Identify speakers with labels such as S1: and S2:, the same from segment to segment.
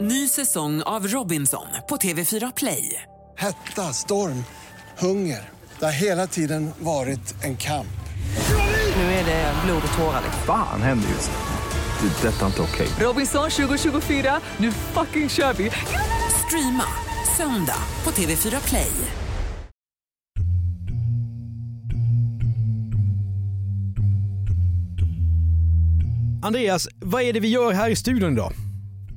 S1: Ny säsong av Robinson på TV4 Play.
S2: Hetta, storm, hunger. Det har hela tiden varit en kamp.
S1: Nu är det blod och tårar. liksom.
S3: Fan händer just nu. Det. är Detta är inte okej.
S1: Robinson 2024, nu fucking kör vi! Streama söndag på TV4 Play.
S4: Andreas, vad är det vi gör här i studion idag?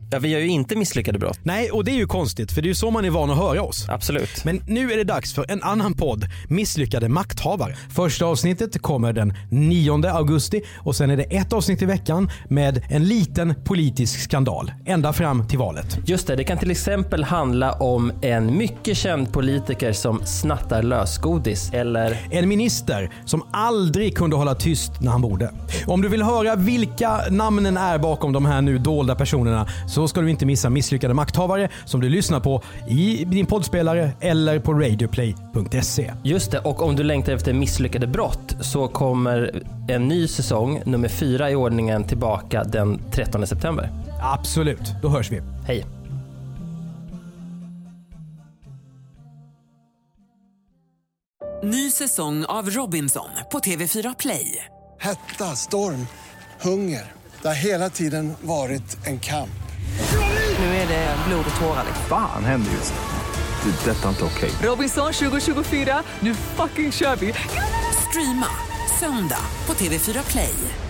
S5: Ja, vi gör ju inte misslyckade brott.
S4: Nej, och det är ju konstigt för det är ju så man är van att höra oss.
S5: Absolut.
S4: Men nu är det dags för en annan podd, Misslyckade makthavare. Första avsnittet kommer den 9 augusti och sen är det ett avsnitt i veckan med en liten politisk skandal. Ända fram till valet.
S5: Just det, det kan till exempel handla om en mycket känd politiker som snattar lösgodis eller
S4: En minister som aldrig kunde hålla tyst när han borde. Om du vill höra vilka namnen är bakom de här nu dolda personerna så ska du inte missa Misslyckade makthavare som du lyssnar på i din poddspelare eller på radioplay.se.
S5: just det, och om du längtar efter misslyckade brott så kommer en ny säsong, nummer fyra i ordningen, tillbaka den 13 september.
S4: Absolut, då hörs vi.
S5: Hej!
S1: Ny säsong av Robinson på TV4 Play.
S2: Hetta, storm, hunger. Det har hela tiden varit en kamp.
S1: Nu är det blod och tårar.
S3: Fan händer just nu. Det. är Detta är inte okej.
S1: Robinson 2024, nu fucking kör vi! Streama söndag på TV4 Play.